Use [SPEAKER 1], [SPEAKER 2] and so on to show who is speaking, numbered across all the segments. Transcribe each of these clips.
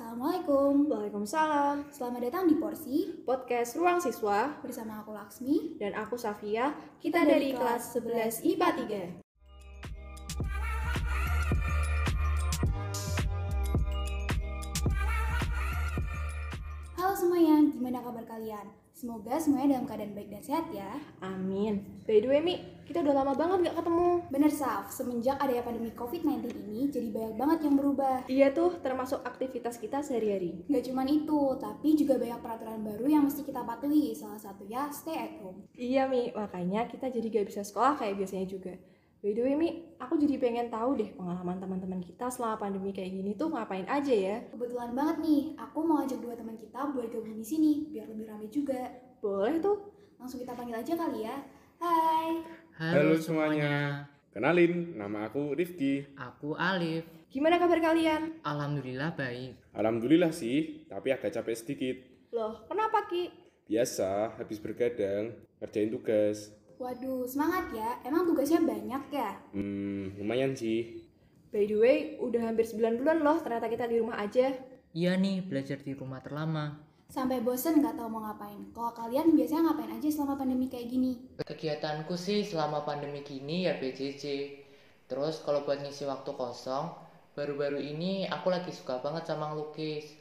[SPEAKER 1] Assalamualaikum.
[SPEAKER 2] Waalaikumsalam.
[SPEAKER 1] Selamat datang di Porsi
[SPEAKER 2] Podcast Ruang Siswa
[SPEAKER 1] bersama aku Laksmi.
[SPEAKER 2] dan aku Safia. Kita dari kelas 11 IPA 3.
[SPEAKER 1] Halo semuanya, gimana kabar kalian? Semoga semuanya dalam keadaan baik dan sehat ya.
[SPEAKER 2] Amin. By the way, Mi, kita udah lama banget nggak ketemu.
[SPEAKER 1] Bener Saf, semenjak adanya pandemi COVID-19 ini jadi banyak banget yang berubah.
[SPEAKER 2] Iya tuh, termasuk aktivitas kita sehari-hari.
[SPEAKER 1] Gak cuman itu, tapi juga banyak peraturan baru yang mesti kita patuhi, salah satunya stay at home.
[SPEAKER 2] Iya, Mi. Makanya kita jadi gak bisa sekolah kayak biasanya juga. By the way, Mi, aku jadi pengen tahu deh pengalaman teman-teman kita selama pandemi kayak gini tuh ngapain aja ya.
[SPEAKER 1] Kebetulan banget nih, aku mau ajak dua teman kita buat gabung di sini, biar lebih ramai juga.
[SPEAKER 2] Boleh tuh.
[SPEAKER 1] Langsung kita panggil aja kali ya. Hai,
[SPEAKER 3] Halo semuanya,
[SPEAKER 4] Kenalin, nama aku Rifki.
[SPEAKER 3] aku Alif.
[SPEAKER 2] Gimana kabar kalian?
[SPEAKER 3] Alhamdulillah baik.
[SPEAKER 4] Alhamdulillah sih, tapi agak capek sedikit.
[SPEAKER 2] Loh, kenapa Ki?
[SPEAKER 4] Biasa, habis bergadang, ngerjain tugas.
[SPEAKER 1] waduh semangat ya, emang tugasnya banyak ya?
[SPEAKER 4] Hmm, lumayan sih.
[SPEAKER 2] By the way, udah hampir 9 bulan loh ternyata kita di rumah aja.
[SPEAKER 3] Iya nih, belajar di rumah terlama.
[SPEAKER 1] Sampai bosen nggak tahu mau ngapain. Kalau kalian biasanya ngapain aja selama pandemi kayak gini?
[SPEAKER 3] Kegiatanku sih selama pandemi gini ya BJJ. Terus kalau buat ngisi waktu kosong, baru-baru ini aku lagi suka banget sama ngelukis.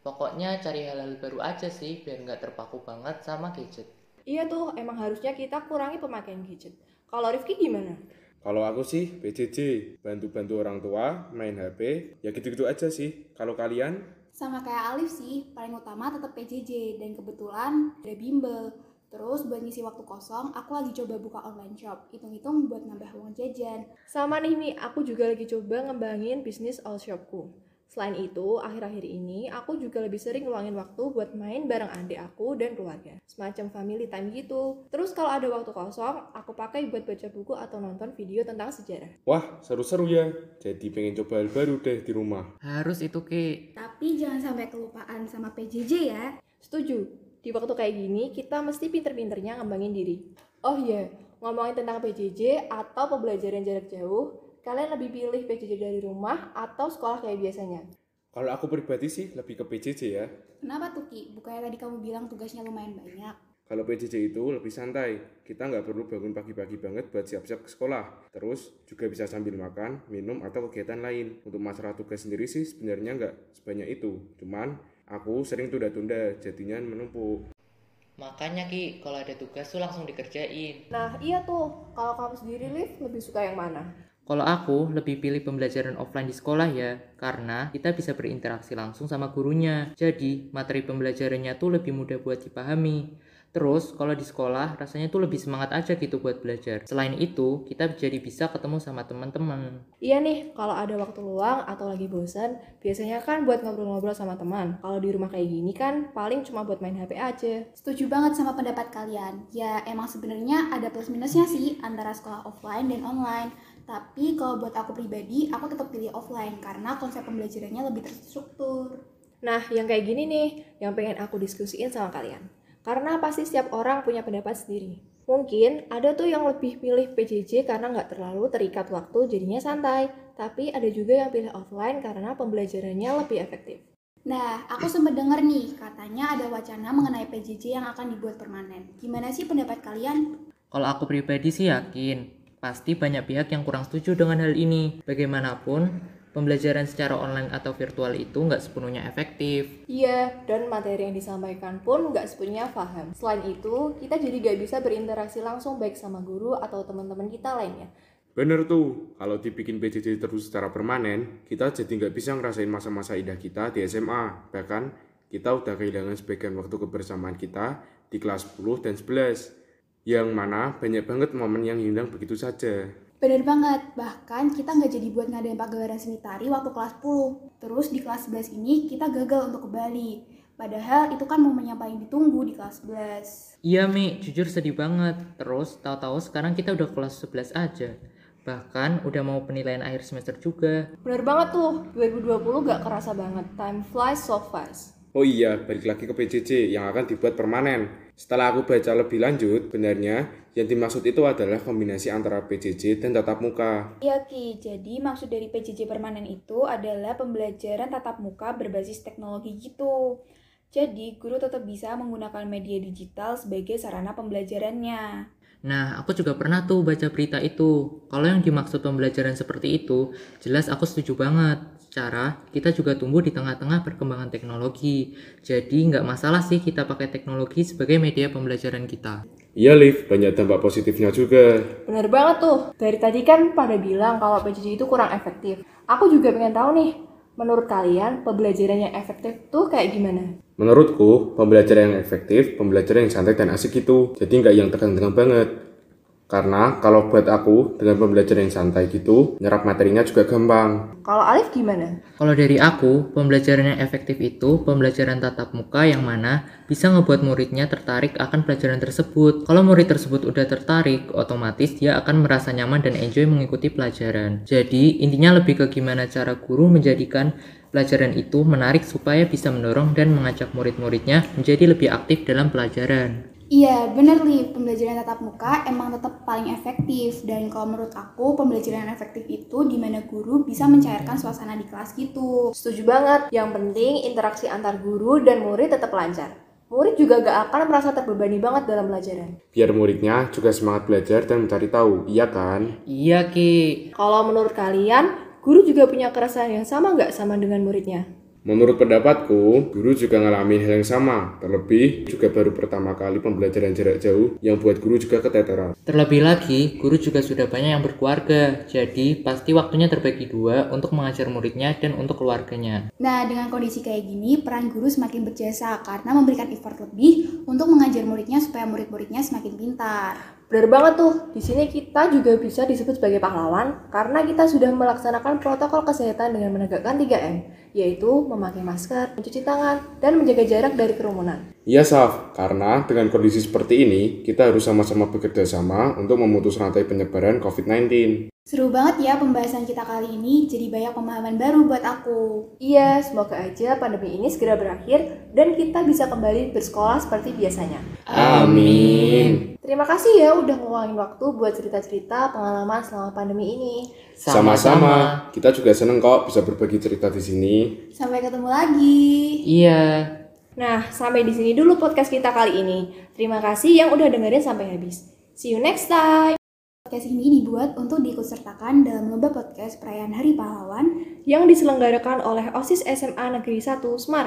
[SPEAKER 3] Pokoknya cari hal-hal baru aja sih, biar nggak terpaku banget sama gadget.
[SPEAKER 2] Iya tuh, emang harusnya kita kurangi pemakaian gadget. Kalau Rifki gimana?
[SPEAKER 4] Kalau aku sih, BJJ. Bantu-bantu orang tua, main HP, ya gitu-gitu aja sih. Kalau kalian,
[SPEAKER 1] Sama kayak Alif sih, paling utama tetap PJJ dan kebetulan ada bimbel. Terus buat ngisi waktu kosong, aku lagi coba buka online shop. Hitung-hitung buat nambah uang jajan.
[SPEAKER 2] Sama nih Mi, aku juga lagi coba ngembangin bisnis all shopku. Selain itu, akhir-akhir ini aku juga lebih sering ngeluangin waktu buat main bareng adik aku dan keluarga. Semacam family time gitu. Terus kalau ada waktu kosong, aku pakai buat baca buku atau nonton video tentang sejarah.
[SPEAKER 4] wah seru-seru ya. Jadi pengen coba hal baru deh di rumah.
[SPEAKER 3] Harus itu, Ki.
[SPEAKER 1] Tapi jangan sampai kelupaan sama PJJ ya.
[SPEAKER 2] Setuju. Di waktu kayak gini, kita mesti pinter-pinternya ngembangin diri. Oh iya, ngomongin tentang PJJ atau pembelajaran jarak jauh, kalian lebih pilih PJJ dari rumah atau sekolah kayak biasanya?
[SPEAKER 4] Kalau aku pribadi sih, lebih ke BJJ ya.
[SPEAKER 1] Kenapa tuh Ki? Bukannya tadi kamu bilang tugasnya lumayan banyak.
[SPEAKER 4] Kalau PJJ itu lebih santai, kita nggak perlu bangun pagi-pagi banget buat siap-siap ke sekolah. Terus juga bisa sambil makan, minum, atau kegiatan lain. Untuk masalah tugas sendiri sih sebenarnya nggak sebanyak itu. Cuman aku sering tunda-tunda, jadinya menumpuk.
[SPEAKER 3] Makanya Ki, kalau ada tugas tuh langsung dikerjain.
[SPEAKER 2] Nah, iya tuh. Kalau kamu sendiri, Liv, lebih suka yang mana?
[SPEAKER 3] Kalau aku lebih pilih pembelajaran offline di sekolah ya, karena kita bisa berinteraksi langsung sama gurunya. Jadi, materi pembelajarannya tuh lebih mudah buat dipahami. Terus, kalau di sekolah rasanya tuh lebih semangat aja gitu buat belajar. Selain itu, kita jadi bisa ketemu sama teman-teman.
[SPEAKER 2] Iya nih, kalau ada waktu luang atau lagi bosan, biasanya kan buat ngobrol-ngobrol sama teman. Kalau di rumah kayak gini kan paling cuma buat main HP aja.
[SPEAKER 1] Setuju banget sama pendapat kalian. Ya emang sebenarnya ada plus minusnya sih antara sekolah offline dan online. Tapi kalau buat aku pribadi, aku tetap pilih offline karena konsep pembelajarannya lebih terstruktur.
[SPEAKER 2] Nah, yang kayak gini nih, yang pengen aku diskusiin sama kalian. Karena pasti setiap orang punya pendapat sendiri. Mungkin ada tuh yang lebih pilih PJJ karena nggak terlalu terikat waktu jadinya santai. Tapi ada juga yang pilih offline karena pembelajarannya lebih efektif.
[SPEAKER 1] Nah, aku sempat denger nih, katanya ada wacana mengenai PJJ yang akan dibuat permanen. Gimana sih pendapat kalian?
[SPEAKER 3] Kalau aku pribadi sih yakin, pasti banyak pihak yang kurang setuju dengan hal ini. Bagaimanapun, pembelajaran secara online atau virtual itu nggak sepenuhnya efektif.
[SPEAKER 2] Iya, dan materi yang disampaikan pun nggak sepenuhnya paham. Selain itu, kita jadi nggak bisa berinteraksi langsung baik sama guru atau teman-teman kita lainnya.
[SPEAKER 4] Bener tuh, kalau dibikin PJJ terus secara permanen, kita jadi nggak bisa ngerasain masa-masa indah kita di SMA. Bahkan, kita udah kehilangan sebagian waktu kebersamaan kita di kelas 10 dan 11. Yang mana banyak banget momen yang hilang begitu saja.
[SPEAKER 1] Bener banget, bahkan kita nggak jadi buat ngadain pagelaran seni tari waktu kelas 10. Terus di kelas 11 ini kita gagal untuk ke Bali. Padahal itu kan momen yang paling ditunggu di kelas 11.
[SPEAKER 3] Iya Mi, jujur sedih banget. Terus tahu-tahu sekarang kita udah kelas 11 aja. Bahkan udah mau penilaian akhir semester juga.
[SPEAKER 2] Bener banget tuh, 2020 nggak kerasa banget. Time flies so fast.
[SPEAKER 4] Oh iya, balik lagi ke PJJ yang akan dibuat permanen. Setelah aku baca lebih lanjut, benarnya yang dimaksud itu adalah kombinasi antara PJJ dan tatap muka.
[SPEAKER 1] Iya Ki, jadi maksud dari PJJ permanen itu adalah pembelajaran tatap muka berbasis teknologi gitu. Jadi guru tetap bisa menggunakan media digital sebagai sarana pembelajarannya.
[SPEAKER 3] Nah, aku juga pernah tuh baca berita itu. Kalau yang dimaksud pembelajaran seperti itu, jelas aku setuju banget. Cara kita juga tumbuh di tengah-tengah perkembangan teknologi. Jadi nggak masalah sih kita pakai teknologi sebagai media pembelajaran kita.
[SPEAKER 4] Iya Liv, banyak dampak positifnya juga.
[SPEAKER 2] Bener banget tuh. Dari tadi kan pada bilang kalau PJJ itu kurang efektif. Aku juga pengen tahu nih, menurut kalian pembelajaran yang efektif tuh kayak gimana?
[SPEAKER 4] Menurutku, pembelajaran yang efektif, pembelajaran yang santai dan asik gitu. Jadi nggak yang tegang-tegang banget. Karena kalau buat aku, dengan pembelajaran yang santai gitu, nyerap materinya juga gampang.
[SPEAKER 2] Kalau Alif gimana?
[SPEAKER 3] Kalau dari aku, pembelajaran yang efektif itu pembelajaran tatap muka yang mana bisa ngebuat muridnya tertarik akan pelajaran tersebut. Kalau murid tersebut udah tertarik, otomatis dia akan merasa nyaman dan enjoy mengikuti pelajaran. Jadi, intinya lebih ke gimana cara guru menjadikan pelajaran itu menarik supaya bisa mendorong dan mengajak murid-muridnya menjadi lebih aktif dalam pelajaran.
[SPEAKER 1] Iya, bener Liv. Pembelajaran tatap muka emang tetap paling efektif. Dan kalau menurut aku, pembelajaran efektif itu dimana guru bisa mencairkan suasana di kelas gitu.
[SPEAKER 2] Setuju banget. Yang penting interaksi antar guru dan murid tetap lancar. Murid juga gak akan merasa terbebani banget dalam pelajaran.
[SPEAKER 4] Biar muridnya juga semangat belajar dan mencari tahu, iya kan?
[SPEAKER 3] Iya, Ki.
[SPEAKER 2] Kalau menurut kalian, guru juga punya keresahan yang sama nggak sama dengan muridnya?
[SPEAKER 4] Menurut pendapatku, guru juga ngalamin hal yang sama. Terlebih, juga baru pertama kali pembelajaran jarak jauh yang buat guru juga keteteran.
[SPEAKER 3] Terlebih lagi, guru juga sudah banyak yang berkeluarga, jadi pasti waktunya terbagi dua untuk mengajar muridnya dan untuk keluarganya.
[SPEAKER 1] Nah, dengan kondisi kayak gini, peran guru semakin berjasa karena memberikan effort lebih untuk mengajar muridnya supaya murid-muridnya semakin pintar.
[SPEAKER 2] Bener banget tuh, di sini kita juga bisa disebut sebagai pahlawan karena kita sudah melaksanakan protokol kesehatan dengan menegakkan 3M, yaitu memakai masker, mencuci tangan, dan menjaga jarak dari kerumunan.
[SPEAKER 4] Iya, Saf. Karena dengan kondisi seperti ini, kita harus sama-sama bekerja sama untuk memutus rantai penyebaran COVID-19.
[SPEAKER 1] Seru banget ya pembahasan kita kali ini, jadi banyak pemahaman baru buat aku.
[SPEAKER 2] Iya, semoga aja pandemi ini segera berakhir dan kita bisa kembali bersekolah seperti biasanya.
[SPEAKER 4] Amin.
[SPEAKER 2] Terima kasih ya udah ngeluangin waktu buat cerita-cerita pengalaman selama pandemi ini.
[SPEAKER 4] Sama-sama. Kita juga seneng kok bisa berbagi cerita di sini.
[SPEAKER 1] Sampai ketemu lagi.
[SPEAKER 3] Iya.
[SPEAKER 2] Nah, sampai di sini dulu podcast kita kali ini. Terima kasih yang udah dengerin sampai habis. See you next time.
[SPEAKER 1] Podcast ini dibuat untuk diikutsertakan dalam lomba podcast perayaan Hari Pahlawan
[SPEAKER 2] yang diselenggarakan oleh OSIS SMA Negeri 1 Semarang.